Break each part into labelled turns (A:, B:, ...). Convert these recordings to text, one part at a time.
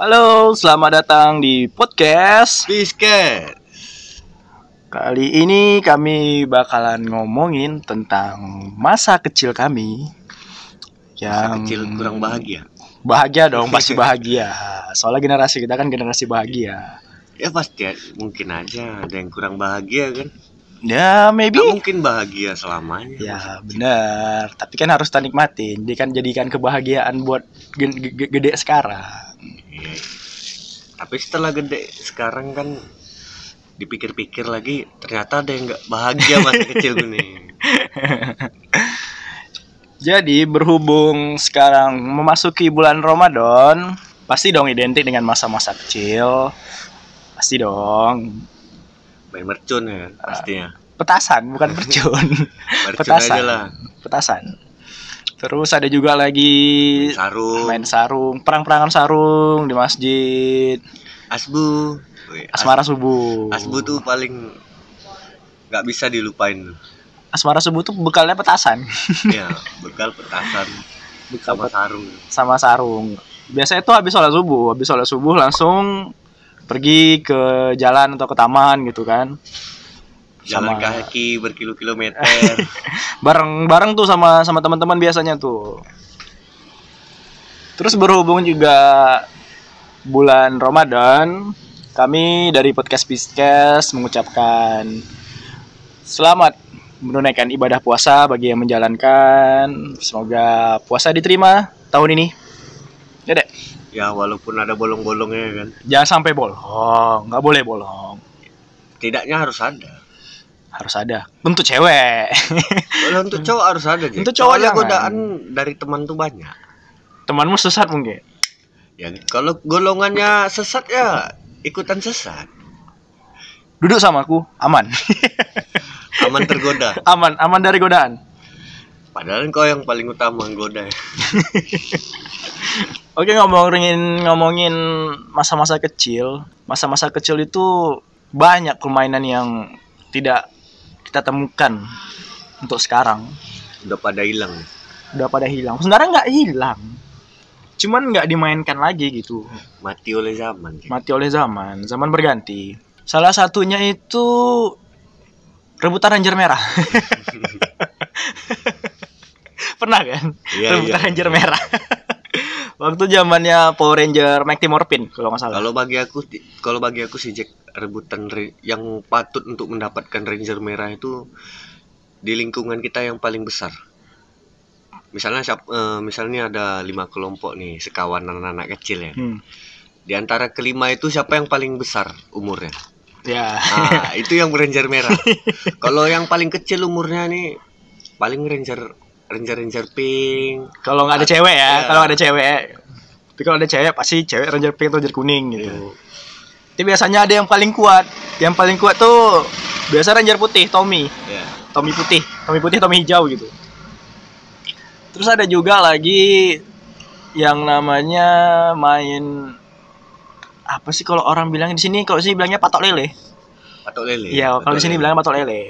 A: Halo, selamat datang di podcast.
B: Bisket.
A: Kali ini kami bakalan ngomongin tentang masa kecil kami.
B: Masa kecil kurang bahagia.
A: Bahagia dong, pasti bahagia. Soalnya generasi kita kan generasi bahagia.
B: Ya pasti ya, mungkin aja ada yang kurang bahagia kan.
A: Ya, maybe.
B: Nggak mungkin bahagia selamanya.
A: Ya, benar. Tapi kan harus kita nikmatin. Dia kan jadikan kebahagiaan buat gen- ge- ge- gede sekarang.
B: Iya. Tapi setelah gede sekarang kan dipikir-pikir lagi ternyata ada yang nggak bahagia masa kecil gini.
A: Jadi berhubung sekarang memasuki bulan Ramadan, pasti dong identik dengan masa-masa kecil. Pasti dong.
B: Main mercon ya kan, pastinya.
A: Petasan bukan percun.
B: Mercon
A: Petasan.
B: aja lah.
A: Petasan. Terus ada juga lagi
B: Main sarung,
A: main sarung, perang-perangan sarung di masjid,
B: asbu. Wih, as-
A: asmara subuh.
B: asbu tuh paling nggak bisa dilupain.
A: Asmara subuh tuh bekalnya petasan
B: ya, bekal petasan sama sarung.
A: sama sarung. Biasanya tuh habis sholat subuh, habis sholat subuh langsung pergi ke jalan atau ke taman gitu kan.
B: Jalan
A: Sama-
B: kaki berkilo-kilometer.
A: bareng bareng tuh sama sama teman-teman biasanya tuh terus berhubung juga bulan Ramadan kami dari podcast Biskes mengucapkan selamat menunaikan ibadah puasa bagi yang menjalankan semoga puasa diterima tahun ini Dedek,
B: ya walaupun ada bolong-bolongnya kan
A: jangan sampai bolong nggak boleh bolong
B: tidaknya harus ada
A: harus ada untuk cewek
B: kalau untuk cowok harus ada Jack.
A: Hmm. Untuk cowok
B: Soalnya
A: jangan.
B: godaan dari teman tuh banyak
A: temanmu sesat mungkin
B: ya kalau golongannya sesat ya ikutan sesat
A: duduk sama aku aman
B: aman tergoda
A: aman aman dari godaan
B: padahal kau yang paling utama goda
A: Oke ngomongin ngomongin masa-masa kecil, masa-masa kecil itu banyak permainan yang tidak kita temukan untuk sekarang.
B: udah pada hilang
A: Udah pada hilang. Sebenarnya nggak hilang, cuman nggak dimainkan lagi gitu.
B: mati oleh zaman Jack.
A: Mati oleh zaman, zaman berganti. Salah satunya itu rebutan Ranger Merah. Pernah kan?
B: Iya,
A: rebutan
B: iya.
A: Ranger Merah. Waktu zamannya Power Ranger Mighty Morphin kalau nggak salah.
B: kalau bagi aku ti- kalau bagi aku sih Jack, rebutan re- yang patut untuk mendapatkan ranger merah itu di lingkungan kita yang paling besar misalnya siap- eh, misalnya ada lima kelompok nih sekawan anak-anak kecil ya
A: Hmm.
B: di antara kelima itu siapa yang paling besar umurnya
A: Ya.
B: nah itu yang ranger merah kalau yang paling kecil umurnya nih paling ranger ranger ranger pink
A: Kalau nggak ada cewek ya,
B: Iya.
A: kalau ada cewek. Tapi kalau ada cewek pasti cewek ranger pink atau ranger kuning gitu.
B: Iya.
A: Tapi biasanya ada yang paling kuat. Yang paling kuat tuh biasa ranger putih, Tommy.
B: ya
A: Tommy putih, Tommy putih, Tommy hijau gitu. Terus ada juga lagi yang namanya main apa sih kalau orang bilang di sini kalau di sini bilangnya patok lele.
B: patok lele
A: Iya, kalau di
B: patok
A: sini
B: lele.
A: bilangnya patok lele.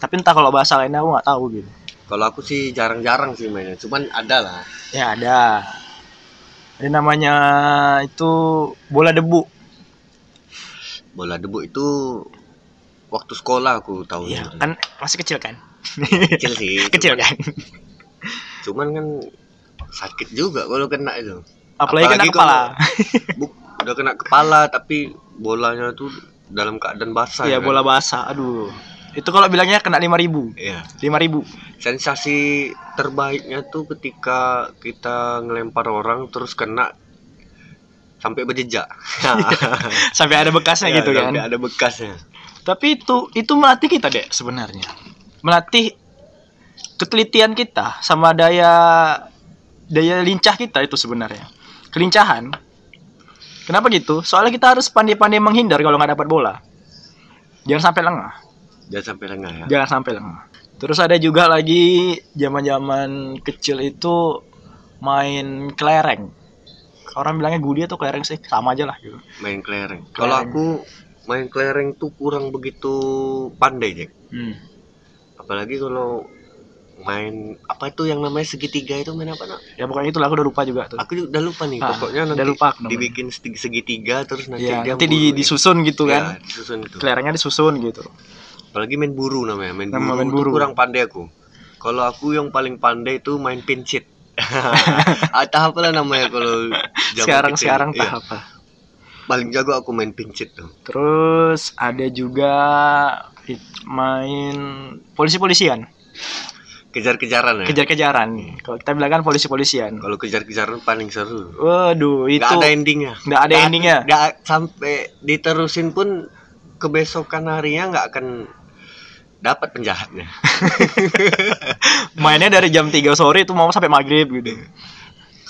A: Tapi entah kalau bahasa lainnya aku nggak tahu gitu.
B: kalau aku sih jarang-jarang sih mainnya cuman ada lah
A: Ya ada. Ada namanya itu bola debu.
B: bola debu itu waktu sekolah aku tahu
A: Iya, kan masih kecil kan?
B: kecil sih
A: kecil
B: cuman,
A: kan?
B: cuman kan sakit juga kalau kena itu
A: Apalagi kena
B: Apalagi
A: kepala.
B: Buk, udah kena kepala tapi bolanya tuh dalam keadaan basah
A: Iya,
B: kan?
A: bola basah. Aduh. Itu kalau bilangnya kena 5000.
B: Iya.
A: 5000.
B: sensasi terbaiknya tuh ketika kita ngelempar orang terus kena sampai berjejak
A: Sampai ada bekasnya Iya,
B: Ya,
A: gitu kan.
B: sampai ada bekasnya
A: Tapi itu itu melatih kita, Dek, sebenarnya. Melatih ketelitian kita sama daya daya lincah kita itu sebenarnya. Kelincahan. Kenapa gitu? Soalnya kita harus pandai-pandai menghindar kalau nggak dapat bola. Jangan sampai lengah.
B: jangan sampai lengah ya
A: jangan sampai lengah terus ada juga lagi zaman zaman kecil itu main kelereng orang bilangnya gudi atau kelereng sih sama aja lah gitu
B: main kelereng
A: Kelereng.
B: kalau aku main kelereng tuh kurang begitu pandai Jack
A: hmm.
B: apalagi kalau main apa itu yang namanya segitiga itu main apa nak?
A: ya pokoknya itulah aku udah lupa juga tuh
B: Aku udah lupa nih.
A: Ah,
B: Pokoknya
A: udah
B: nanti
A: lupa aku namanya.
B: dibikin segi- segitiga terus nanti
A: ya
B: dia
A: nanti di,
B: buru, ya.
A: disusun gitu
B: Ya,
A: kan
B: disusun itu.
A: kelerengnya disusun gitu
B: Apalagi main buru namanya. Main
A: Nama
B: buru,
A: main
B: itu
A: buru.
B: kurang pandai aku. Kalau aku yang paling pandai itu main pincit. Atau apalah namanya kalau zaman
A: sekarang
B: kecil.
A: sekarang
B: Iya,
A: tahap lah
B: paling jago aku main pincit tuh.
A: terus ada juga it- main polisi-polisian
B: Kejar-kejaran ya.
A: kejar-kejaran kalau kita bilang kan polisi-polisian
B: Kalau kejar-kejaran paling seru.
A: waduh itu
B: Nggak ada endingnya.
A: nggak ada
B: Nggak-
A: endingnya
B: nggak sampai diterusin pun kebesokan harinya nggak akan dapat penjahatnya.
A: mainnya dari jam 3 sore itu mau sampai maghrib gitu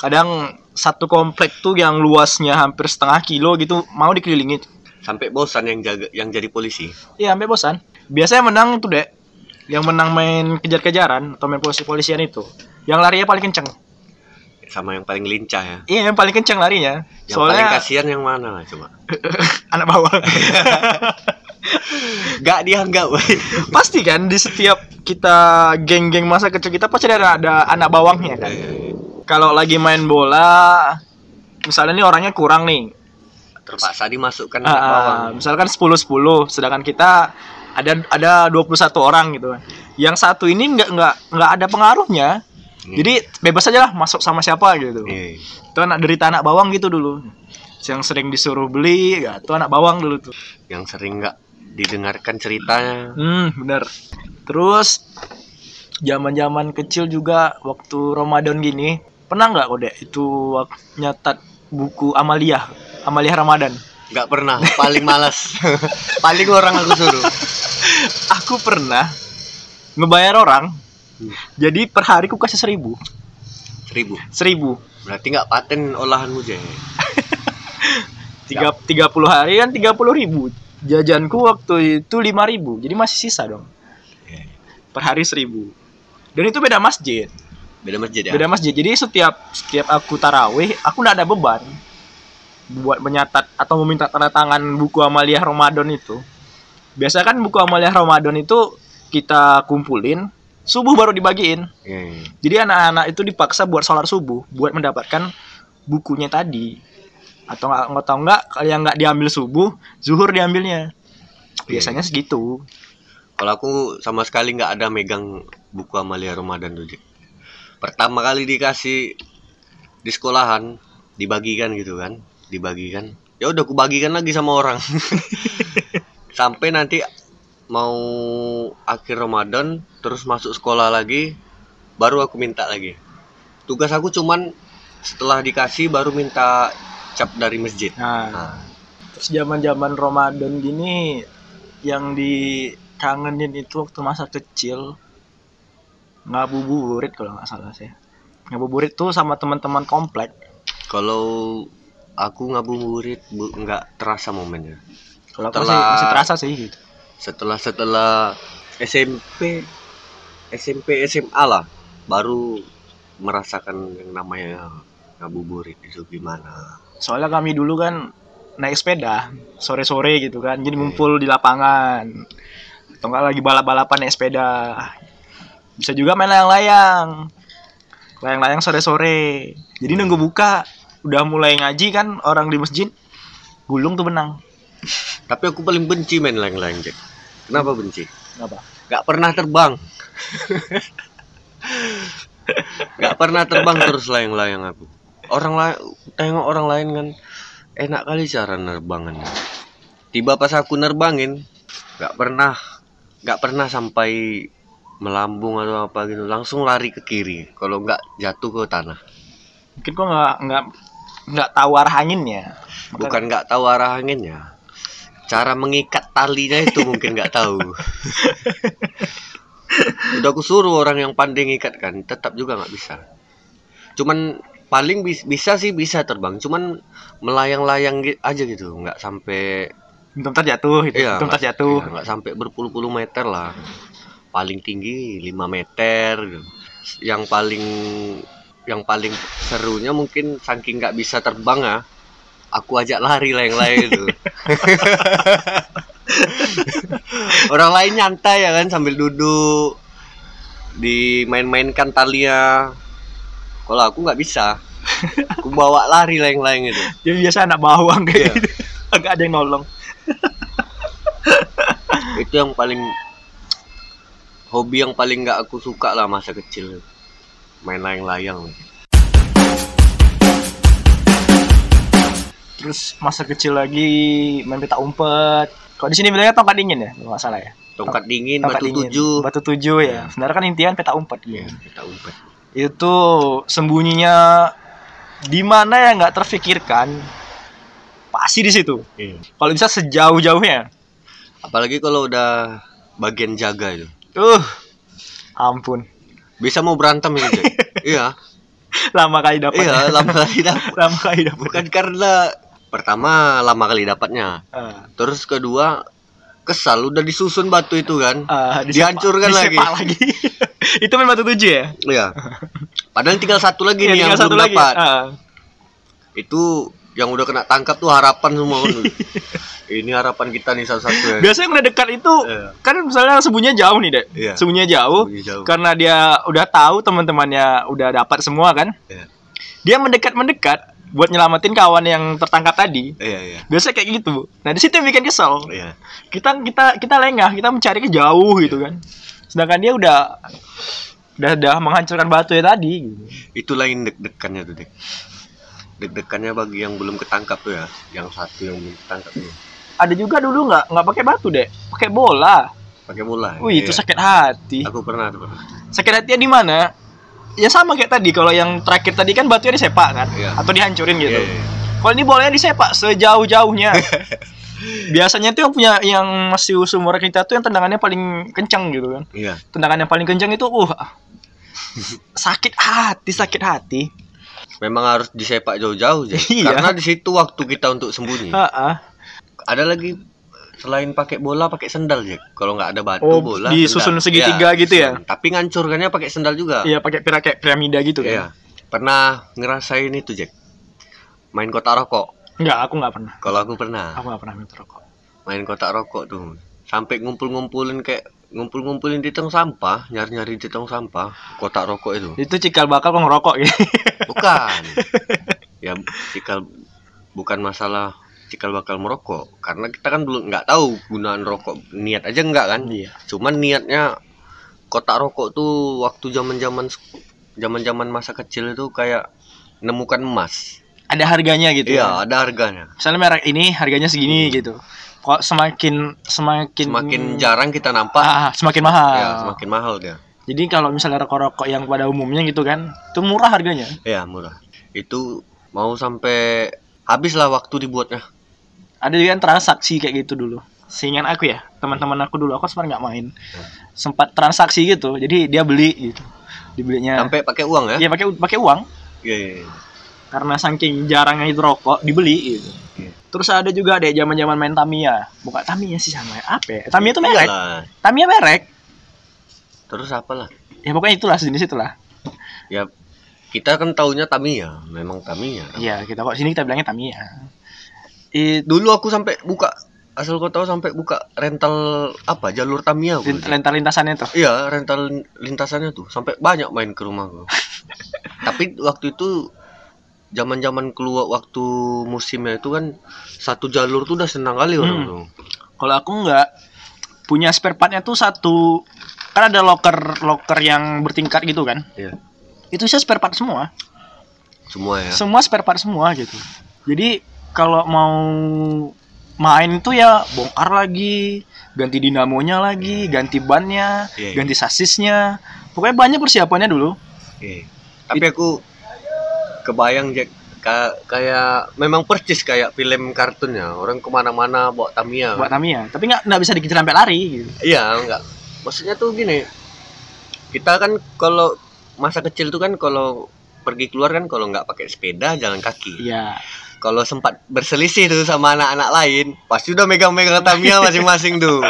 A: kadang satu komplek tuh yang luasnya hampir setengah kilo gitu mau dikelilingi
B: Sampai bosan yang jaga yang jadi polisi.
A: ya sampai bosan biasanya menang itu dek yang menang main kejar-kejaran atau main polisi-polisian itu yang larinya paling kenceng
B: Sama yang paling lincah ya.
A: iya yang paling kenceng larinya
B: Yang
A: soalnya
B: paling kasihan yang mana lah coba?
A: anak bawang
B: Gak dianggap.
A: pasti kan di setiap kita geng-geng masa kecil kita pasti ada ada anak bawangnya kan
B: Iya.
A: kalau lagi main bola misalnya nih orangnya kurang nih
B: Terpaksa
A: Ah,
B: dimasukkan anak
A: ah,
B: bawang.
A: misalkan 10 10 sedangkan kita ada ada 21 orang gitu kan. Yang satu ini nggak nggak nggak ada pengaruhnya.
B: Iya.
A: Jadi bebas aja lah masuk sama siapa gitu.
B: Iya.
A: Itu anak derita anak bawang gitu dulu. Yang sering disuruh beli, ya itu anak bawang dulu tuh.
B: Yang sering nggak didengarkan ceritanya.
A: Hmm, bener. Terus zaman-zaman kecil juga waktu Ramadan gini, pernah nggak Kode itu wak- nyatat buku Amaliah, Amaliah Ramadan?
B: Nggak pernah. Paling malas. paling orang aku suruh.
A: aku pernah ngebayar orang
B: Hmm.
A: jadi per hari ku kasih seribu
B: Seribu.
A: seribu
B: Berarti nggak paten olahanmu Jay.
A: tiga tiga puluh hari kan tiga puluh ribu jajanku waktu itu lima ribu jadi masih sisa dong
B: Iya.
A: per hari seribu dan itu beda masjid
B: Beda masjid ya.
A: beda masjid jadi setiap setiap aku tarawih aku nggak ada beban buat menyatat atau meminta tanda tangan buku amaliah Ramadan itu biasa kan buku amaliah Ramadan itu kita kumpulin subuh baru dibagiin
B: Iya, iya.
A: Jadi anak-anak itu dipaksa buat sholat subuh buat mendapatkan bukunya tadi. Atau nggak nggak tahu nggak kalau yang nggak diambil subuh, zuhur diambilnya. Biasanya segitu.
B: Kalau aku sama sekali nggak ada megang buku Amalia Ramadan tuh. Jack. Pertama kali dikasih di sekolahan dibagikan gitu kan, dibagikan. Ya udah aku bagikan lagi sama orang. Sampai nanti mau akhir Ramadan terus masuk sekolah lagi baru aku minta lagi. Tugas aku cuman setelah dikasih baru minta cap dari masjid.
A: Nah,
B: Nah,
A: terus zaman-zaman Ramadan gini yang dikangenin itu waktu masa kecil ngabuburit kalau nggak salah sih. Ngabuburit tuh sama teman-teman komplek.
B: kalau aku ngabuburit bu- nggak terasa momennya.
A: Kalau aku masih,
B: Setelah-
A: masih terasa sih gitu.
B: setelah setelah SMP SMP SMA lah baru merasakan yang namanya ngabuburit itu gimana
A: soalnya kami dulu kan naik sepeda sore-sore gitu kan jadi
B: Oke.
A: ngumpul di lapangan atau enggak lagi balap-balapan naik sepeda bisa juga main layang-layang layang-layang sore-sore jadi
B: Hmm.
A: nunggu buka udah mulai ngaji kan orang di masjid gulung tuh benang
B: tapi aku paling benci main layang-layang Jack kenapa benci
A: apa
B: nggak pernah terbang nggak pernah terbang terus layang-layang aku orang lain tengok orang lain kan enak kali cara nerbangannya tiba pas aku nerbangin nggak pernah nggak pernah sampai melambung atau apa gitu langsung lari ke kiri kalau nggak jatuh ke tanah
A: mungkin kok nggak nggak nggak tahu arah anginnya Maka-
B: bukan nggak tahu arah anginnya cara mengikat talinya itu mungkin nggak tahu udah aku suruh orang yang pandai ngikat kan tetap juga nggak bisa cuman paling bis- bisa sih bisa terbang cuman melayang-layang gi- aja gitu nggak sampai
A: bentar jatuh gitu
B: iya,
A: bentar
B: nggak-
A: jatuh
B: iya, nggak sampai berpuluh-puluh meter lah paling tinggi 5 meter gitu. yang paling yang paling serunya mungkin saking nggak bisa terbang ya aku ajak lari layang-layang itu orang lain nyantai ya kan sambil duduk dimain-mainkan talinya kalau aku nggak bisa aku bawa lari layang-layang itu
A: Jadi biasa anak bawang kayak
B: Iya.
A: gitu. Enggak ada yang nolong.
B: itu yang paling hobi yang paling nggak aku suka lah masa kecil main layang-layang
A: Terus masa kecil lagi main petak umpet. Kalau di sini bilangnya tongkat dingin ya, kalau nggak salah ya.
B: tongkat dingin
A: Tongkat
B: batu
A: dingin.
B: tujuh
A: Batu tujuh ya. Sebenarnya kan intian petak umpet gitu.
B: ya kita umpet
A: Itu sembunyinya di mana ya nggak terfikirkan. Pasti di situ.
B: Iya.
A: Kalau bisa sejauh-jauhnya.
B: apalagi kalau udah bagian jaga itu
A: Uh. Ampun.
B: bisa mau berantem ya Jack? iya
A: Lama kali dapat.
B: iya lama kali dapat
A: Lama kali dapat.
B: bukan karena pertama lama kali dapatnya
A: Ah.
B: terus kedua kesal udah disusun batu itu kan
A: Ah,
B: Dihancurkan lagi.
A: disepak lagi. itu main batu tujuh ya?
B: iya padahal tinggal satu lagi
A: Iya,
B: nih yang
A: tinggal
B: belum dapat
A: Ah.
B: itu yang udah kena tangkap tuh harapan semua kan. ini harapan kita nih satu-satu ya
A: Biasanya yang udah dekat itu
B: Iya.
A: kan misalnya sembunyinya jauh nih, Dek.
B: Iya.
A: Sembunyinya jauh,
B: Sembunyi jauh.
A: karena dia udah tahu teman-temannya udah dapat semua kan.
B: Iya.
A: Dia mendekat-mendekat buat nyelamatin kawan yang tertangkap tadi.
B: iya iya
A: Biasanya kayak gitu. Nah, di situ yang bikin kesel.
B: iya
A: Kita kita kita lengah, kita mencari ke jauh gitu kan. Sedangkan dia udah udah udah menghancurkan batu ya tadi gitu.
B: itu lain deg-degannya tuh dek deg-degannya bagi yang belum ketangkap tuh ya yang satu yang belum ketangkap tuh
A: Ada juga dulu nggak nggak pakai batu, Dek. Pakai bola.
B: pakai bola ya.
A: Wih, itu
B: Iya.
A: sakit hati.
B: aku pernah tuh pernah.
A: Sakit hatinya di mana? Ya sama kayak tadi kalau yang terakhir tadi kan batunya disepak kan
B: Iya.
A: atau dihancurin gitu.
B: Iya, iya.
A: Kalau ini bolanya disepak sejauh-jauhnya. Biasanya tuh yang punya yang masih umur kita tuh yang tendangannya paling kencang gitu kan.
B: iya
A: Tendangan yang paling kencang itu uh sakit hati, sakit hati.
B: memang harus disepak jauh-jauh Jack.
A: Iya.
B: karena di situ waktu kita untuk sembunyi
A: Heeh.
B: ada lagi selain pakai bola pakai sendal ya kalau nggak ada batu
A: Oh,
B: bola
A: disusun
B: sendal.
A: segitiga
B: Iya,
A: gitu ya?
B: disusun. tapi ngancurkannya pakai sendal juga
A: Iya pakai pira kayak piramida gitu
B: Iya.
A: kan.
B: pernah ngerasain itu Jack main kotak rokok
A: Enggak, aku nggak pernah.
B: kalau aku pernah
A: Aku nggak pernah minum rokok.
B: main kotak rokok tuh sampai ngumpul-ngumpulin kayak ngumpul-ngumpulin di tong sampah nyari-nyari di tong sampah kotak rokok itu
A: Itu cikal bakal kok ngerokok gitu.
B: bukan ya cikal bukan masalah cikal bakal merokok karena kita kan belum nggak tahu gunaan rokok niat aja nggak kan
A: Iya.
B: cuman niatnya kotak rokok tuh waktu zaman zaman zaman zaman masa kecil itu kayak nemukan emas
A: Ada harganya gitu. kan.
B: iya ada harganya
A: misalnya merek ini harganya segini gitu kok semakin semakin
B: Hmm. semakin jarang kita nampak
A: ah, semakin mahal
B: ya semakin mahal dia
A: jadi kalau misalnya rokok-rokok yang pada umumnya gitu kan itu murah harganya
B: ya murah itu mau sampai habislah waktu dibuatnya
A: ada juga yang transaksi kayak gitu dulu seingat aku ya teman-teman aku dulu aku sebenarnya nggak main
B: Hmm.
A: sempat transaksi gitu jadi dia beli gitu dibelinya
B: sampai pakai uang
A: ya
B: ya
A: pakai pakai uang
B: Iya, iya, iya.
A: karena saking jarangnya itu rokok dibeli gitu
B: Iya.
A: terus ada juga deh zaman-zaman main Tamiya bukan Tamiya sih sama ya apa ya Tamiya
B: Iya
A: itu merek
B: Iyalah.
A: Tamiya merek
B: terus apalah
A: ya pokoknya itulah sejenis itulah
B: ya kita kan taunya Tamiya memang Tamiya
A: Iya, kita kok sini kita bilangnya Tamiya. Itu
B: dulu aku sampai buka asal kau tahu sampai buka rental apa jalur Tamiya aku.
A: lintas lintasannya tuh.
B: iya rental lin- lintasannya tuh sampai banyak main ke rumahku tapi waktu itu zaman zaman keluar waktu musimnya itu kan satu jalur tuh udah senang kali orang
A: Hmm.
B: tuh
A: Kalau aku nggak punya spare partnya tuh satu kan ada locker locker yang bertingkat gitu kan.
B: iya
A: Itu sih spare part semua.
B: semua ya
A: Semua spare part semua gitu. Jadi kalau mau main itu ya bongkar lagi, ganti dinamonya lagi, ganti bannya,
B: Iya, iya.
A: ganti sasisnya. Pokoknya banyak persiapannya dulu.
B: Iya. tapi aku kebayang Jack ka- kayak memang percis kayak film kartunnya orang kemana-mana bawa Tamiya kan.
A: buat Tamiya, tapi nggak nggak bisa dikejar sampai lari gitu.
B: Iya, enggak. Maksudnya tuh gini. Kita kan kalau masa kecil tuh kan kalau pergi keluar kan kalau nggak pakai sepeda jalan kaki.
A: Iya.
B: Kalau sempat berselisih tuh sama anak-anak lain, pasti udah megang-megang Tamiya masing-masing tuh.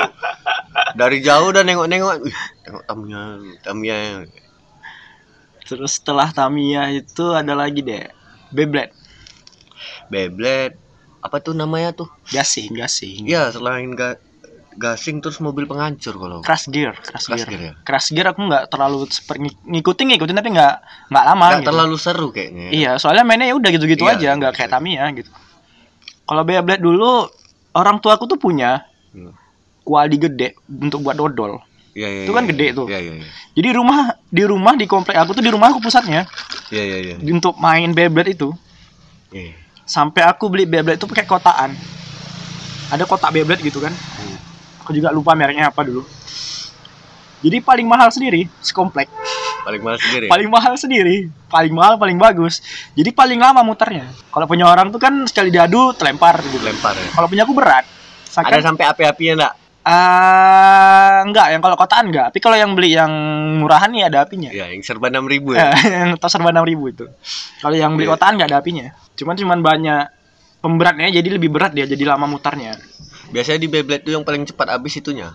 B: Dari jauh udah nengok-nengok, "Wih, tengok Tamiya, Tamiya.
A: Terus setelah Tamiya itu ada lagi deh Beyblade.
B: Beyblade. Apa tuh namanya tuh?
A: Gasing, gasing.
B: Iya, selain ga gasing terus mobil penghancur kalau
A: crash gear crash,
B: Crash
A: gear.
B: gear ya?
A: crash gear aku nggak terlalu seper- ngik- ngikutin ngikutin tapi nggak nggak lama
B: nggak
A: gitu.
B: terlalu seru kayaknya ya.
A: iya soalnya mainnya ya udah gitu gitu
B: Iya,
A: aja nggak kayak
B: gitu-gitu aja.
A: Tamiya gitu kalau Beyblade dulu orang tua aku tuh punya
B: Hmm.
A: kuali gede untuk buat dodol
B: Iya, iya,
A: Itu kan
B: iya,
A: gede
B: iya.
A: tuh.
B: Iya, iya, iya.
A: jadi rumah di rumah di komplek aku tuh di rumah aku pusatnya
B: Iya, iya, iya.
A: untuk main Beyblade itu
B: Iya.
A: sampai aku beli Beyblade itu pakai kotaan ada kotak Beyblade gitu kan aku juga lupa mereknya apa dulu jadi paling mahal sendiri sekomplek
B: Paling mahal sendiri.
A: paling mahal sendiri paling mahal paling bagus jadi paling lama muternya kalau punya orang tuh kan sekali diadu terlempar gitu
B: lempar ya.
A: kalau punya aku berat
B: Ada
A: Seakan,
B: sampai api-apinya enggak?
A: Ah, enggak yang kalau kotaan enggak tapi kalau yang beli yang murahan nih ada apinya
B: Ya, yang serba 6000 ya.
A: Eh, yang tas serba 6000 itu kalau yang beli
B: Iya.
A: kotaan enggak ada apinya cuman cuman banyak pemberatnya jadi lebih berat dia jadi lama mutarnya
B: Biasanya di Beyblade tuh yang paling cepat habis itunya.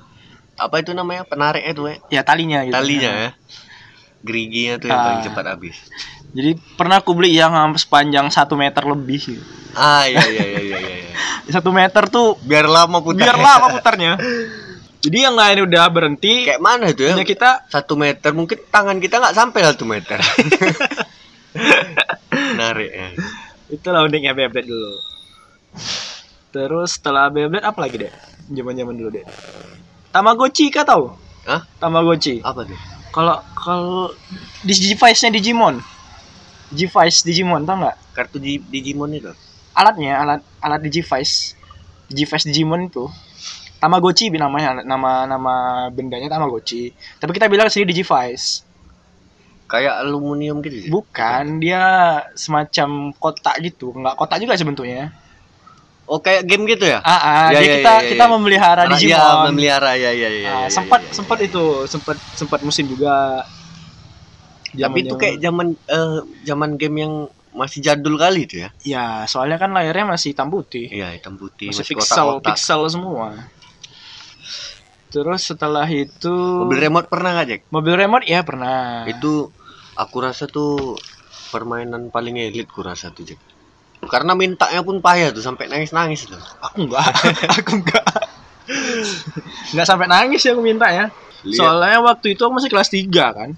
B: Apa itu namanya? Penariknya tuh, ya.
A: ya talinya gitu
B: Talinya ya. Geriginya tuh yang paling
A: Ah.
B: cepat habis.
A: jadi pernah aku beli yang hampir sepanjang satu meter lebih gitu.
B: Ah, iya iya iya iya iya.
A: satu meter tuh
B: Biar lama putar.
A: biar lama putarnya jadi yang lain udah berhenti
B: Kayak mana itu ya?
A: punya kita
B: Satu meter mungkin tangan kita nggak sampai satu meter. Menarik ya.
A: itu lah uniknya Beyblade dulu terus setelah Beyblade apa lagi deh zaman zaman dulu deh Tamagotchi kah tau
B: Hah?
A: Tamagotchi
B: Apa tuh?
A: kalau kalau di device nya Digimon device Digimon tau nggak
B: Kartu di Digimon itu.
A: alatnya alat alat Digivice Digivice Digimon itu Tamagotchi namanya nama nama bendanya Tamagotchi tapi kita bilang sini Digivice
B: Kayak aluminium gitu sih.
A: Bukan, dia semacam kotak gitu. Enggak kotak juga sebenarnya.
B: Oh, kayak game gitu ya?
A: Ah, ah,
B: Ya,
A: jadi
B: ya,
A: kita
B: ya, ya,
A: kita
B: ya.
A: Ah, memelihara
B: Mana-
A: Digimon.
B: Iya, memelihara ya ya ya.
A: Ah,
B: ya,
A: sempat
B: ya, ya,
A: sempat
B: ya.
A: itu, sempat sempat musim juga.
B: Tapi itu
A: Zaman-zaman-
B: kayak zaman eh, zaman game yang masih jadul kali itu ya.
A: ya, soalnya kan layarnya masih hitam putih.
B: Iya, hitam putih
A: masih,
B: masih,
A: pixel,
B: kotak-kotak.
A: pixel semua. Terus setelah itu
B: Mobil remote pernah nggak, Jack?
A: mobil remote ya pernah.
B: Itu aku rasa tuh permainan paling elit ku rasa tuh, Jack. Karena mintanya pun payah tuh sampai nangis-nangis tuh.
A: aku enggak, aku enggak. enggak sampai nangis ya aku minta ya.
B: Lihat
A: Soalnya waktu itu aku masih kelas 3 kan.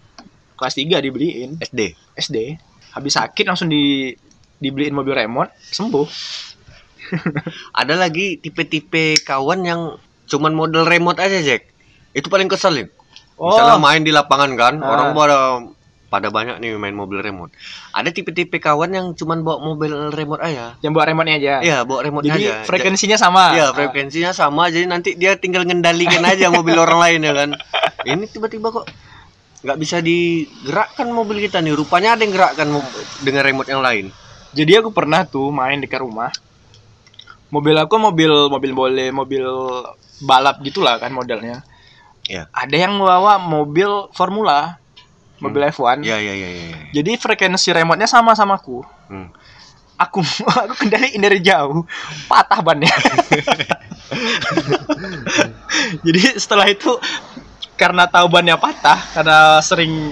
A: Kelas 3 dibeliin
B: SD.
A: SD. Habis sakit langsung di dibeliin mobil remote, sembuh.
B: Ada lagi tipe-tipe kawan yang cuman model remote aja, Jack. Itu paling keselin. Misalnya main di lapangan kan,
A: Oh. Ah.
B: orang pada pada banyak nih main mobil remote. Ada tipe-tipe kawan yang cuman bawa mobil remote aja.
A: yang buat remote-nya aja.
B: Iya, bawa remote
A: Jadi
B: aja.
A: frekuensinya sama. Ah,
B: Iya, frekuensinya sama jadi nanti dia tinggal ngendalikan aja mobil orang lain ya kan. Ini tiba-tiba kok nggak bisa digerakkan mobil kita nih. Rupanya ada yang gerakkan mo- dengan remote yang lain.
A: Jadi aku pernah tuh main dekat rumah. Mobil aku mobil mobil boleh, mobil balap gitulah kan modelnya.
B: Iya.
A: Ada yang bawa mobil Formula, mobil F1.
B: Iya, iya, iya, iya.
A: Jadi frekuensi remote-nya sama sama aku.
B: Hmm.
A: Aku aku kendaliin dari jauh, patah bannya. Jadi setelah itu karena tahu bannya patah, karena sering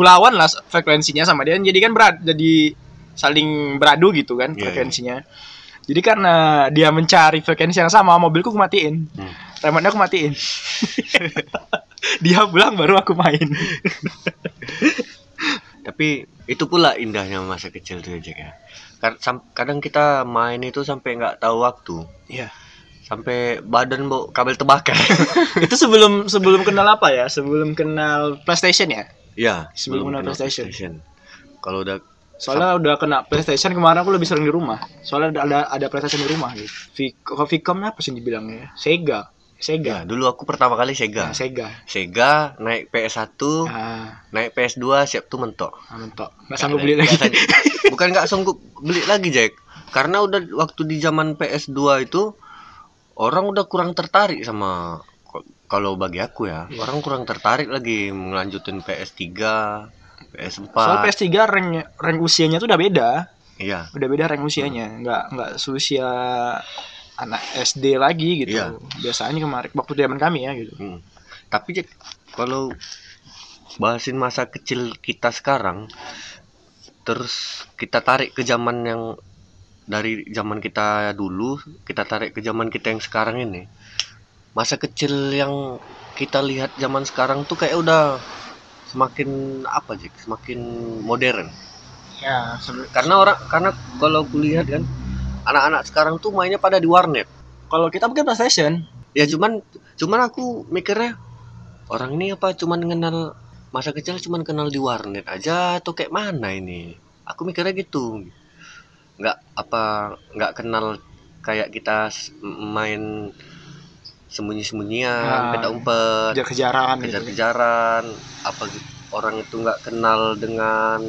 A: kulawan lah frekuensinya sama dia, jadi kan berat, jadi saling beradu gitu kan
B: Iya, iya.
A: frekuensinya. Jadi karena dia mencari frekuensi yang sama, mobilku aku matiin.
B: Hmm.
A: Remote-nya aku matiin. dia pulang baru aku main.
B: Tapi itu pula indahnya masa kecil tuh Jack ya. Kar- sam- Kadang kita main itu sampai nggak tahu waktu,
A: Iya.
B: sampai badan bau kabel terbakar.
A: itu sebelum sebelum kenal apa ya sebelum kenal PlayStation ya
B: Iya,
A: Sebelum ada PlayStation.
B: Kalau udah
A: soalnya udah kena PlayStation kemarin aku lebih sering di rumah soalnya ada ada, ada PlayStation di rumah gitu Vicom, Vicom apa sih dibilangnya Sega
B: ya,
A: Sega
B: dulu aku pertama kali
A: Nah,
B: Iya, Sega. Oh.
A: Sega
B: Sega naik PS1,
A: ah
B: naik PS2 siap tuh mentok.
A: ah, mentok nggak sanggup beli lagi
B: Nggak sanggup. Bukan nggak sanggup beli lagi, Jack. Karena udah waktu di zaman PS2 itu orang udah kurang tertarik sama kalau bagi aku ya,
A: Iya.
B: orang kurang tertarik lagi melanjutin PS3, PS4.
A: soalnya PS3 rank rank usianya tuh udah beda
B: Iya.
A: udah beda rank
B: Hmm.
A: usianya nggak nggak seusia anak SD lagi gitu
B: Iya.
A: biasanya kemarin waktu zaman kami ya gitu
B: Hmm. Tapi Jack, kalau bahasin masa kecil kita sekarang, terus kita tarik ke zaman yang dari zaman kita dulu, kita tarik ke zaman kita yang sekarang ini, masa kecil yang kita lihat zaman sekarang tuh kayak udah semakin apa Jack semakin modern
A: Ya, sebe-
B: karena orang karena kalau kulihat kan anak-anak sekarang tuh mainnya pada di warnet
A: kalau kita mungkin PlayStation.
B: ya cuman cuman aku mikirnya orang ini apa cuman kenal masa kecil cuman kenal di warnet aja atau kayak mana ini aku mikirnya gitu nggak apa nggak kenal kayak kita s- m- main sembunyi-sembunyian
A: Ah,
B: peta umpet
A: Kejar-kejaran gitu.
B: kejar-kejaran apa gitu. orang itu nggak kenal dengan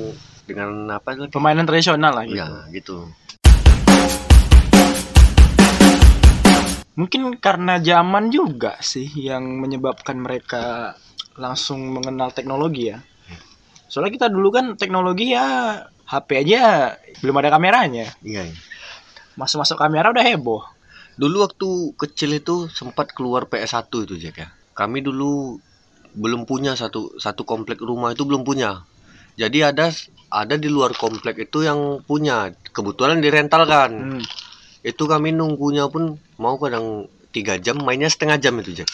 B: dengan apa itu
A: Permainan tradisional lah gitu.
B: ya gitu
A: Mungkin karena zaman juga sih yang menyebabkan mereka langsung mengenal teknologi ya. Soalnya kita dulu kan teknologi ya HP aja belum ada kameranya.
B: iya iya.
A: Masuk-masuk kamera udah heboh.
B: Dulu waktu kecil itu sempat keluar PS1 itu Jack ya. Kami dulu belum punya satu satu komplek rumah itu belum punya. Jadi ada ada di luar komplek itu yang punya. Kebetulan direntalkan.
A: Hmm.
B: Itu kami nunggunya pun mau kadang tiga jam mainnya setengah jam itu Jack.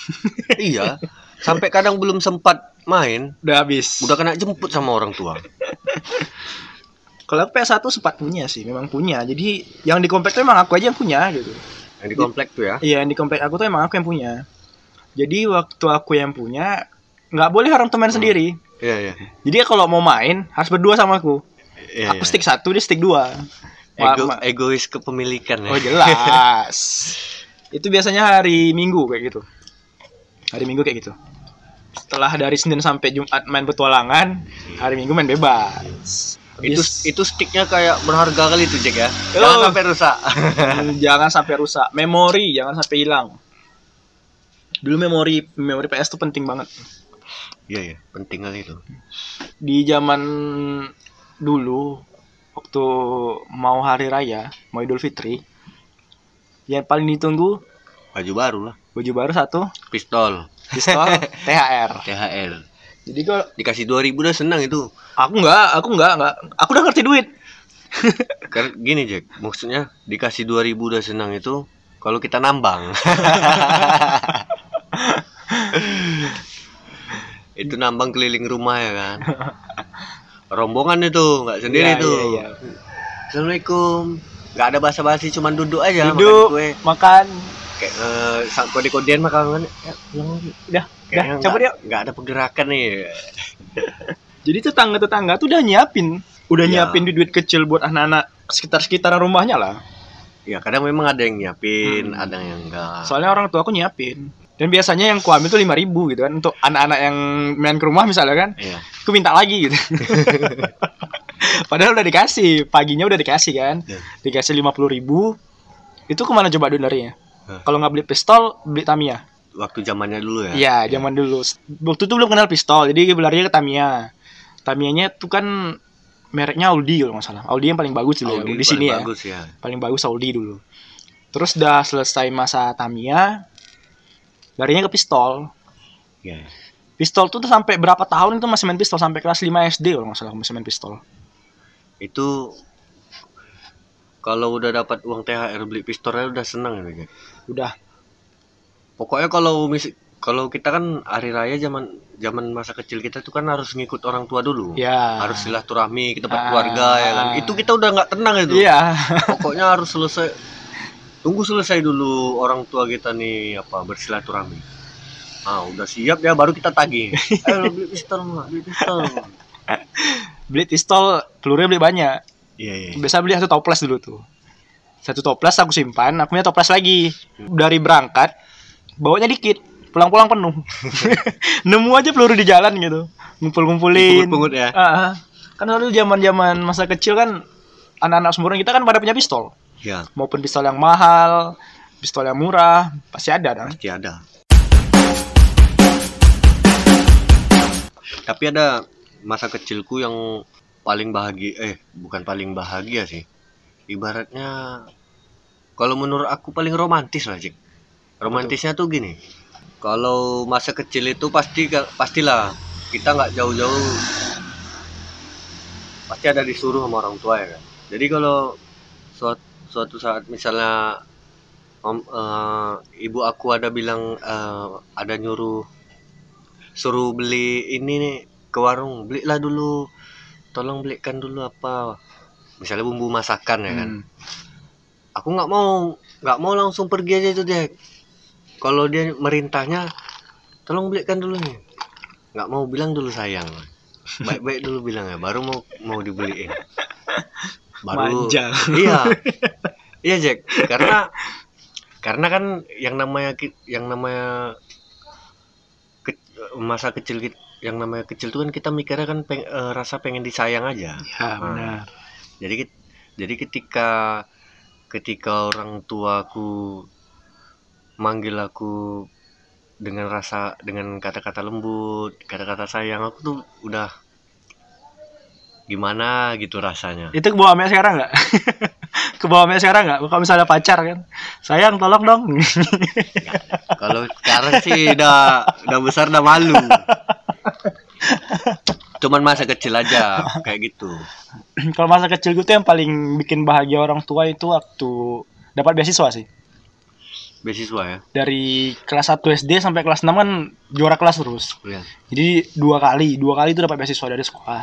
B: iya. Sampai kadang belum sempat main
A: Udah habis.
B: udah kena jemput sama orang tua.
A: Kalau PS1 sempat punya sih, memang punya. Jadi yang di komplek tuh emang aku aja yang punya gitu.
B: Yang di komplek tuh ya.
A: Iya, yang di komplek aku tuh emang aku yang punya. Jadi waktu aku yang punya, nggak boleh orang tuh main
B: Hmm.
A: sendiri.
B: Iya iya.
A: Jadi kalau mau main harus berdua sama aku.
B: Iya,
A: aku
B: iya.
A: stick satu, dia stick dua. Ma-
B: Ego,
A: ma-
B: egois kepemilikan ya.
A: oh jelas. Itu biasanya hari Minggu kayak gitu. Hari Minggu kayak gitu. Setelah dari Senin sampai Jumat main petualangan, hari Minggu main bebas.
B: Itu
A: Habis-
B: itu sticknya kayak berharga kali tuh Jack ya.
A: Oh.
B: Jangan sampai rusak.
A: Hmm, jangan sampai rusak memori jangan sampai hilang dulu memori memori PS tuh penting banget
B: Iya ya, penting kali itu.
A: di zaman dulu waktu mau hari raya mau Idul Fitri yang paling ditunggu
B: Baju baru lah,
A: baju baru satu
B: pistol,
A: pistol THR
B: THR.
A: jadi kalau
B: Dikasih 2000 udah senang itu.
A: aku nggak aku nggak nggak aku udah ngerti duit
B: Karena Kan gini Jack, maksudnya dikasih 2000 udah senang itu kalau kita nambang. itu nambang keliling rumah ya kan. Rombongan itu, nggak sendiri
A: Iya,
B: tuh.
A: iya, iya.
B: Assalamualaikum. Nggak ada basa-basi, cuman duduk aja makan
A: duduk
B: kue.
A: makan
B: kayak eh, sang kode-kodean mah kangen ya pulang lagi
A: udah udah
B: Kayaknya
A: cabut
B: nggak-
A: yuk
B: nggak ada pergerakan nih
A: Jadi tetangga-tetangga tuh udah nyiapin, udah
B: Iya.
A: nyiapin duit kecil buat anak-anak sekitar-sekitaran rumahnya lah.
B: ya kadang memang ada yang nyiapin
A: Hmm.
B: ada yang enggak
A: Soalnya orang tua aku nyiapin. Dan biasanya yang kuambil tuh 5000 gitu kan untuk anak-anak yang main ke rumah misalnya kan,
B: Iya.
A: aku minta lagi gitu. Padahal udah dikasih, paginya udah dikasih kan.
B: Iya.
A: Dikasih 50.000. Itu kemana coba duit larinya?
B: Hah.
A: Kalau nggak beli pistol, beli Tamiya.
B: waktu zamannya dulu ya
A: Iya, zaman dulu. Waktu itu belum kenal pistol, jadi larinya ke Tamiya. Tamiya-nya tuh kan mereknya Audi kalau nggak salah. Audi yang paling bagus dulu ya,
B: Audi
A: di sini
B: paling
A: ya.
B: bagus ya
A: paling bagus Saudi dulu. Terus udah selesai masa Tamiya, larinya ke pistol.
B: Iya.
A: Pistol tuh, tuh sampai berapa tahun itu masih main pistol sampai kelas 5 SD kalau nggak salah aku masih main pistol.
B: itu kalau udah dapat uang THR beli pistolnya udah senang ya Jack.
A: Udah.
B: pokoknya kalau mis kalau kita kan hari raya zaman zaman masa kecil kita tuh kan harus ngikut orang tua dulu
A: Ya.
B: harus silaturahmi ke tempat
A: Ah.
B: keluarga ya kan itu kita udah nggak tenang itu
A: Iya.
B: pokoknya harus selesai tunggu selesai dulu orang tua kita nih apa bersilaturahmi ah udah siap ya baru kita tagih eh lo beli pistol nggak beli pistol
A: Beli pistol, pelurunya beli banyak.
B: iya iya
A: Biasa beli satu toples dulu tuh. Satu toples aku simpan, aku punya toples lagi. Dari berangkat, bawanya dikit. Pulang-pulang penuh. Nemu aja peluru di jalan gitu. Ngumpul-ngumpulin.
B: pungut ya
A: Ah, ah. kan dulu zaman zaman masa kecil kan anak-anak seumuran kita kan pada punya pistol,
B: ya
A: maupun pistol yang mahal, pistol yang murah, pasti ada kan?
B: pasti ada tapi ada masa kecilku yang paling bahagia eh bukan paling bahagia sih ibaratnya kalau menurut aku paling romantis lah Cik. romantisnya tuh gini kalau masa kecil itu pasti pastilah kita nggak jauh-jauh pasti ada disuruh sama orang tua ya kan jadi kalau suat- suatu saat misalnya Mam- eh, ibu aku ada bilang eh, ada nyuruh suruh beli ini nih ke warung belilah dulu tolong belikan dulu apa misalnya bumbu masakan ya kan
A: Hmm.
B: aku nggak mau nggak mau langsung pergi aja itu Jack kalau dia merintahnya tolong belikan dulu nih nggak mau bilang dulu sayang baik-baik dulu bilang ya baru mau mau dibeliin baru
A: Manja.
B: iya iya Jack karena karena kan yang namanya ki- yang namanya ke- masa kecil ki- yang namanya kecil tuh kan kita mikirnya kan peng- eh, rasa pengen disayang aja
A: Ya, benar.
B: jadi ket- jadi ketika ketika orang tuaku manggil aku dengan rasa dengan kata-kata lembut kata-kata sayang aku tuh udah gimana gitu rasanya
A: Itu ke bawah sekarang nggak? ke bawah sekarang nggak? Kalau misalnya pacar kan, sayang tolong dong.
B: kalau sekarang sih udah udah besar udah malu cuman masa kecil aja kayak gitu
A: Kalau masa kecil gue tuh yang paling bikin bahagia orang tua itu waktu dapat beasiswa sih.
B: beasiswa ya
A: Dari kelas 1 SD sampai kelas 6 kan juara kelas terus.
B: Iya.
A: Jadi dua kali, dua kali itu dapat beasiswa dari sekolah.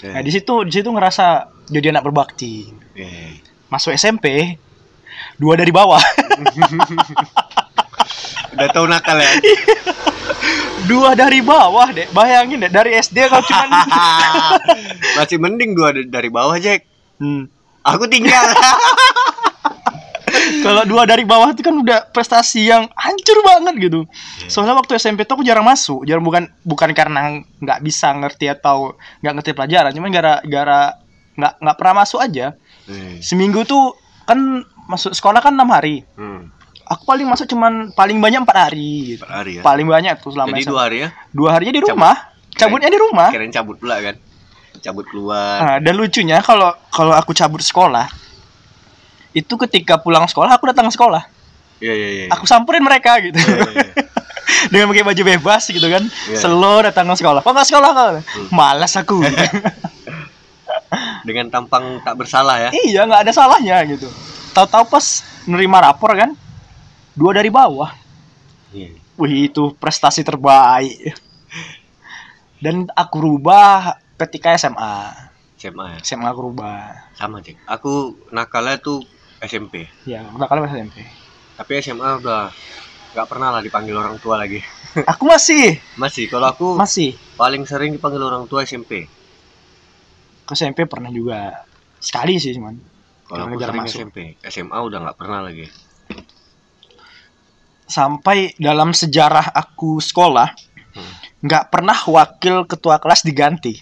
B: Iya.
A: Nah, di situ di situ ngerasa jadi anak berbakti.
B: Iya.
A: Masuk SMP dua dari bawah.
B: udah tahu nakal ya
A: dua dari bawah, Dek. Bayangin deh dari SD kau cuman
B: masih mending dua d- dari bawah Jack
A: Hmm.
B: aku tinggal
A: Kalau dua dari bawah itu kan udah prestasi yang hancur banget gitu.
B: Iya.
A: Soalnya waktu SMP tuh aku jarang masuk, jarang bukan bukan karena nggak bisa ngerti atau nggak ngerti pelajaran, cuman gara-gara nggak nggak pernah masuk aja. Seminggu tuh kan masuk sekolah kan enam hari.
B: hmm.
A: Aku paling masuk cuman paling banyak empat hari. Gitu.
B: per hari ya
A: Paling banyak tuh selama
B: jadi
A: SMP.
B: dua hari ya
A: dua harinya di
B: Cabut.
A: rumah, cabutnya di rumah.
B: keren cabut pula kan cabut keluar
A: Nah, dan lucunya kalau kalau aku cabut sekolah itu ketika pulang sekolah aku datang sekolah,
B: iya iya iya
A: aku samperin mereka gitu.
B: Iya, iya, iya.
A: dengan pakai baju bebas gitu kan
B: Iya.
A: selo datang ke sekolah kok nggak sekolah kau malas aku
B: dengan tampang tak bersalah ya
A: iya nggak ada salahnya gitu tahu-tahu pas nerima rapor kan dua dari bawah
B: Iya.
A: wih itu prestasi terbaik dan aku rubah ketika SMA
B: SMA ya
A: SMA aku rubah
B: sama Jack aku nakalnya tuh SMP
A: ya udah kali masih SMP
B: tapi SMA udah nggak pernah lah dipanggil orang tua lagi
A: aku masih
B: masih kalau aku
A: masih
B: paling sering dipanggil orang tua SMP
A: ke SMP pernah juga sekali sih cuman
B: kalau
A: Karena
B: aku
A: jarang
B: sering
A: masuk.
B: SMP SMA udah nggak pernah lagi
A: sampai dalam sejarah aku sekolah
B: Hmm.
A: nggak pernah wakil ketua kelas diganti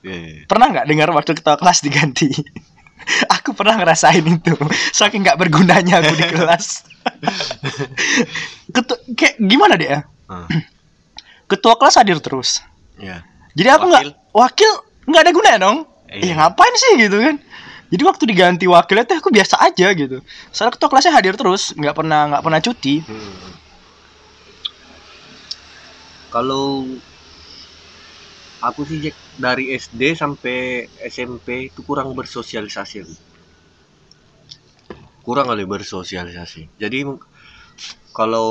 B: Iya, iya, iya.
A: pernah nggak dengar waktu ketua kelas diganti? aku pernah ngerasain itu. Saking nggak bergunanya aku di kelas. Ketu kayak gimana deh ya?
B: Ah,
A: Ketua kelas hadir terus.
B: iya.
A: Jadi aku nggak wakil nggak ada gunanya dong.
B: Iya.
A: Ya ngapain sih gitu kan? Jadi waktu diganti wakilnya tuh aku biasa aja gitu. Soalnya ketua kelasnya hadir terus, nggak pernah nggak pernah cuti.
B: Hmm. Kalau aku sih Jack, dari SD sampai SMP itu kurang bersosialisasi. aku. Kurang kali bersosialisasi. Jadi mung- kalau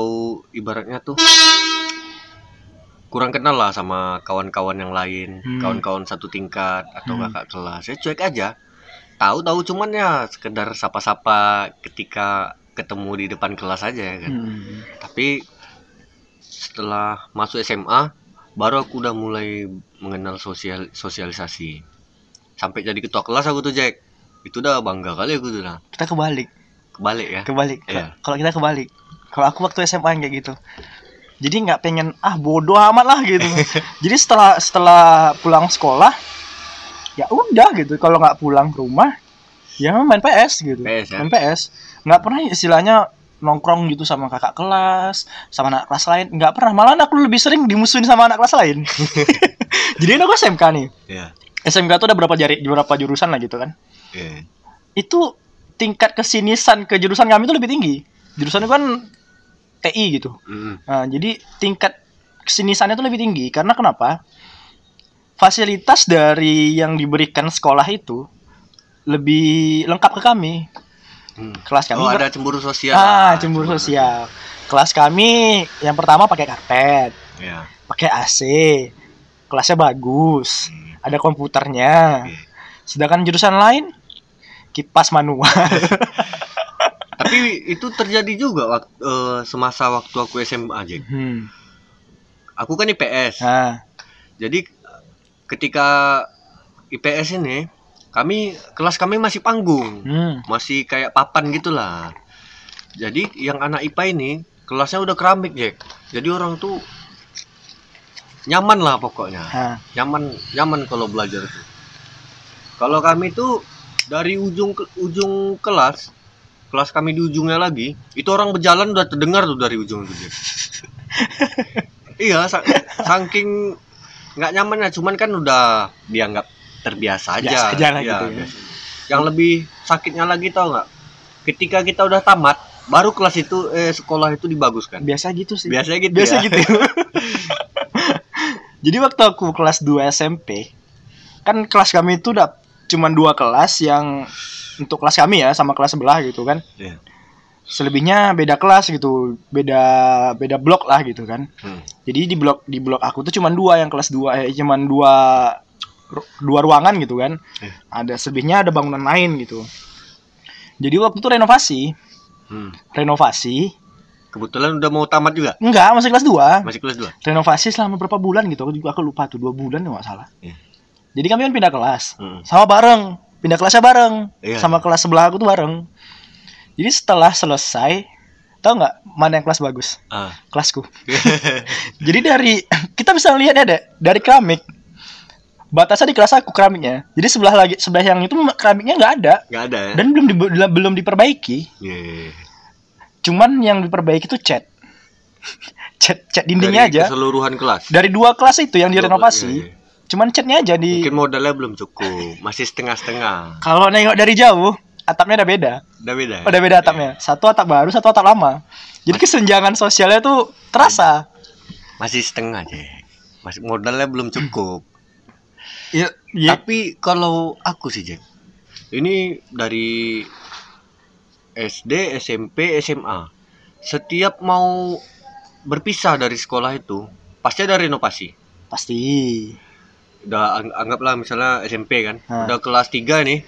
B: ibaratnya tuh kurang kenal lah sama kawan-kawan yang lain,
A: Hmm.
B: kawan-kawan satu tingkat atau
A: Hmm.
B: kakak kelas. Ya cuek aja. Tahu-tahu cuman ya sekedar sapa-sapa ketika ketemu di depan kelas aja ya kan
A: Hmm.
B: tapi setelah masuk SMA baru aku udah mulai mengenal sosial sosialisasi sampai jadi ketua kelas aku tuh Jack itu udah bangga kali aku tuh nah
A: Kita kebalik.
B: kebalik ya
A: kebalik
B: Iya.
A: kalau kita kebalik kalau aku waktu SMA yang kayak gitu jadi nggak pengen ah bodoh amat lah gitu jadi setelah setelah pulang sekolah ya udah gitu kalau nggak pulang ke rumah ya main PS gitu
B: PS ya
A: main PS nggak pernah istilahnya nongkrong gitu sama kakak kelas sama anak kelas lain nggak pernah malahan aku lebih sering dimusuhin sama anak kelas lain jadi aku SMK nih
B: iya
A: SMK tuh ada berapa jari berapa jurusan lah gitu kan
B: iya
A: itu tingkat kesinisan ke jurusan kami itu lebih tinggi. Jurusan itu kan TI gitu.
B: Mm,
A: Nah, jadi tingkat kesinisannya itu lebih tinggi karena kenapa? Fasilitas dari yang diberikan sekolah itu lebih lengkap ke kami.
B: Hmm.
A: Kelas kami
B: Oh
A: ber-
B: ada cemburu sosial.
A: ah cemburu sosial. Kelas kami yang pertama pakai karpet,
B: Ya.
A: pakai AC, kelasnya bagus,
B: Hmm.
A: ada komputernya.
B: Iya.
A: Sedangkan jurusan lain kipas manual.
B: Tapi itu terjadi juga waktu semasa waktu aku SMA aja.
A: Hmm.
B: Aku kan IPS.
A: Nah,
B: Jadi ketika IPS ini kami kelas kami masih panggung.
A: hmm.
B: masih kayak papan gitulah. Jadi yang anak IPA ini kelasnya udah keramik Jack. Jadi orang tuh nyaman lah pokoknya,
A: Nah,
B: nyaman nyaman kalau belajar tuh. Kalau kami tuh dari ujung ke ujung kelas, kelas kami di ujungnya lagi, itu orang berjalan udah terdengar tuh dari ujung itu Jack. iya, sa- saking nggak nyamannya, cuman kan udah dianggap terbiasa aja.
A: biasa aja lah
B: Iya,
A: gitu ya.
B: biasa yang lebih sakitnya lagi tau nggak ketika kita udah tamat baru kelas itu eh sekolah itu dibaguskan
A: Biasa gitu sih.
B: biasanya gitu
A: Biasa
B: ya.
A: gitu. Jadi waktu aku kelas 2 SMP, kan kelas kami itu udah cuman dua kelas yang untuk kelas kami ya sama kelas sebelah gitu kan.
B: Iya.
A: Selebihnya beda kelas gitu, beda beda blok lah gitu kan.
B: Hmm.
A: Jadi di blok di blok aku tuh cuman dua yang kelas 2 eh cuman dua ru- dua ruangan gitu kan.
B: Iya.
A: Ada selebihnya ada bangunan lain gitu. Jadi waktu itu renovasi,
B: Hmm.
A: renovasi.
B: kebetulan udah mau tamat juga
A: Enggak, masih kelas 2.
B: masih kelas dua
A: Renovasi selama berapa bulan gitu. Aku juga aku lupa tuh, dua bulan kalau nggak salah.
B: Iya.
A: Jadi kami kan pindah kelas.
B: Hmm.
A: Sama bareng. Pindah kelasnya bareng.
B: Iya.
A: Sama kelas sebelah aku tuh bareng. Jadi setelah selesai, tau nggak mana yang kelas bagus?
B: ah.
A: Kelasku. Jadi dari kita bisa lihat ya, Dek, dari keramik. Batasnya di kelas aku keramiknya. Jadi sebelah lagi sebelah yang itu keramiknya nggak ada
B: nggak ada ya
A: dan belum di- belum diperbaiki.
B: Iya.
A: Cuman yang diperbaiki tuh cat. cat cat dindingnya
B: Dari
A: aja.
B: keseluruhan kelas
A: Dari dua kelas itu yang
B: Dua- iya,
A: direnovasi.
B: iya.
A: Cuman catnya aja di
B: mungkin modalnya belum cukup masih setengah setengah
A: kalau nengok dari jauh atapnya udah beda.
B: udah beda ya?
A: Udah beda atapnya. Satu atap baru, satu atap lama. Jadi kesenjangan sosialnya tuh terasa.
B: Iya. masih setengah aja masih modalnya belum cukup
A: Iya.
B: Tapi kalau aku sih Jack, ini dari SD, SMP, SMA, setiap mau berpisah dari sekolah itu pasti ada renovasi.
A: Iya, Pasti.
B: Udah ang- anggaplah misalnya SMP kan,
A: Ah.
B: udah kelas 3 nih,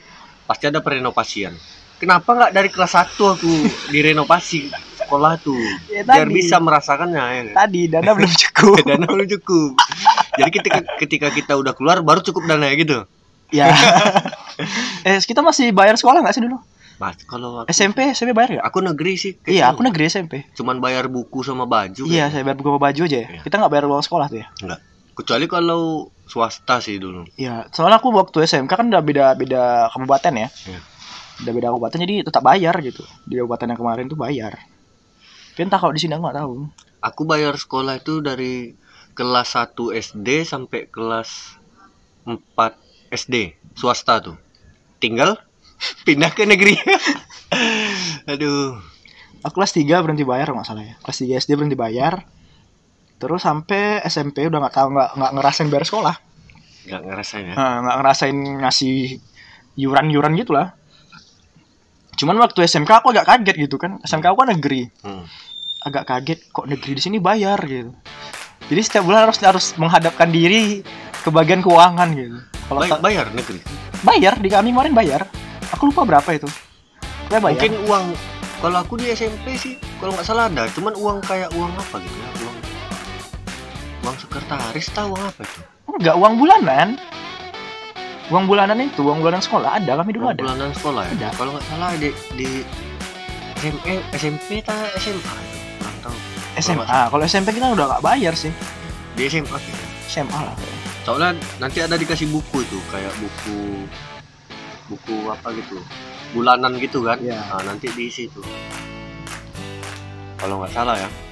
B: pasti ada perenovasian. Kenapa nggak dari kelas 1 aku direnovasi sekolah tuh?
A: Ya,
B: biar
A: tadi.
B: bisa merasakannya ya. kan?
A: Tadi dana belum cukup.
B: Dana belum cukup. Jadi ketika ketika kita udah keluar baru cukup dana ya gitu.
A: ya. eh kita masih bayar sekolah nggak sih dulu?
B: Mas, kalau aku-
A: SMP SMP bayar nggak?
B: Ya, Aku negeri sih. kayaknya.
A: Iya, aku negeri SMP.
B: Cuman bayar buku sama baju.
A: Iya,
B: kayaknya.
A: saya bayar buku sama baju aja ya.
B: Iya.
A: Kita nggak bayar uang sekolah tuh ya.
B: Enggak. Kecuali kalau swasta sih dulu.
A: Iya, soalnya aku waktu SMK kan udah beda-beda kabupaten ya.
B: Iya.
A: Udah beda kabupaten jadi tetap bayar gitu. Di kabupaten yang kemarin tuh bayar. Tapi entah kalau di sini aku nggak tahu.
B: Aku bayar sekolah itu dari kelas 1 SD sampai kelas 4 SD swasta tuh. Tinggal pindah ke negeri. Aduh.
A: Aku kelas 3 berhenti bayar kalau nggak salah ya. Kelas 3 SD berhenti bayar. Terus sampai SMP udah nggak tahu nggak nggak ngerasain bayar sekolah.
B: Enggak ngerasain ya.
A: Nah, nggak ngerasain ngasih yuran-yuran gitu lah. Cuman waktu SMK aku agak kaget gitu kan. SMK aku kan negeri.
B: Hmm.
A: agak kaget kok negeri di sini bayar gitu. Jadi setiap bulan harus harus menghadapkan diri ke bagian keuangan gitu. Kalau
B: Bay-
A: tak-
B: bayar negeri.
A: bayar di kami kemarin bayar. Aku lupa berapa itu. Saya bayar.
B: Mungkin uang kalau aku di SMP sih kalau nggak salah ada, cuman uang kayak uang apa gitu ya, uang uang sekretaris tahu uang apa itu?
A: enggak uang bulanan. Uang bulanan itu, uang bulanan sekolah ada kami dulu
B: Uang
A: ada.
B: bulanan sekolah ya?
A: Ada.
B: Kalau nggak salah di di E, SMP SMP ta SMA tuh, kurang tahu.
A: SMA. Kalau SMP kita udah nggak bayar sih.
B: Di SMA kayaknya.
A: SMA lah. kayaknya.
B: Soalnya nanti ada dikasih buku itu kayak buku buku apa gitu bulanan gitu kan
A: Iya.
B: nah, nanti diisi itu kalau nggak salah ya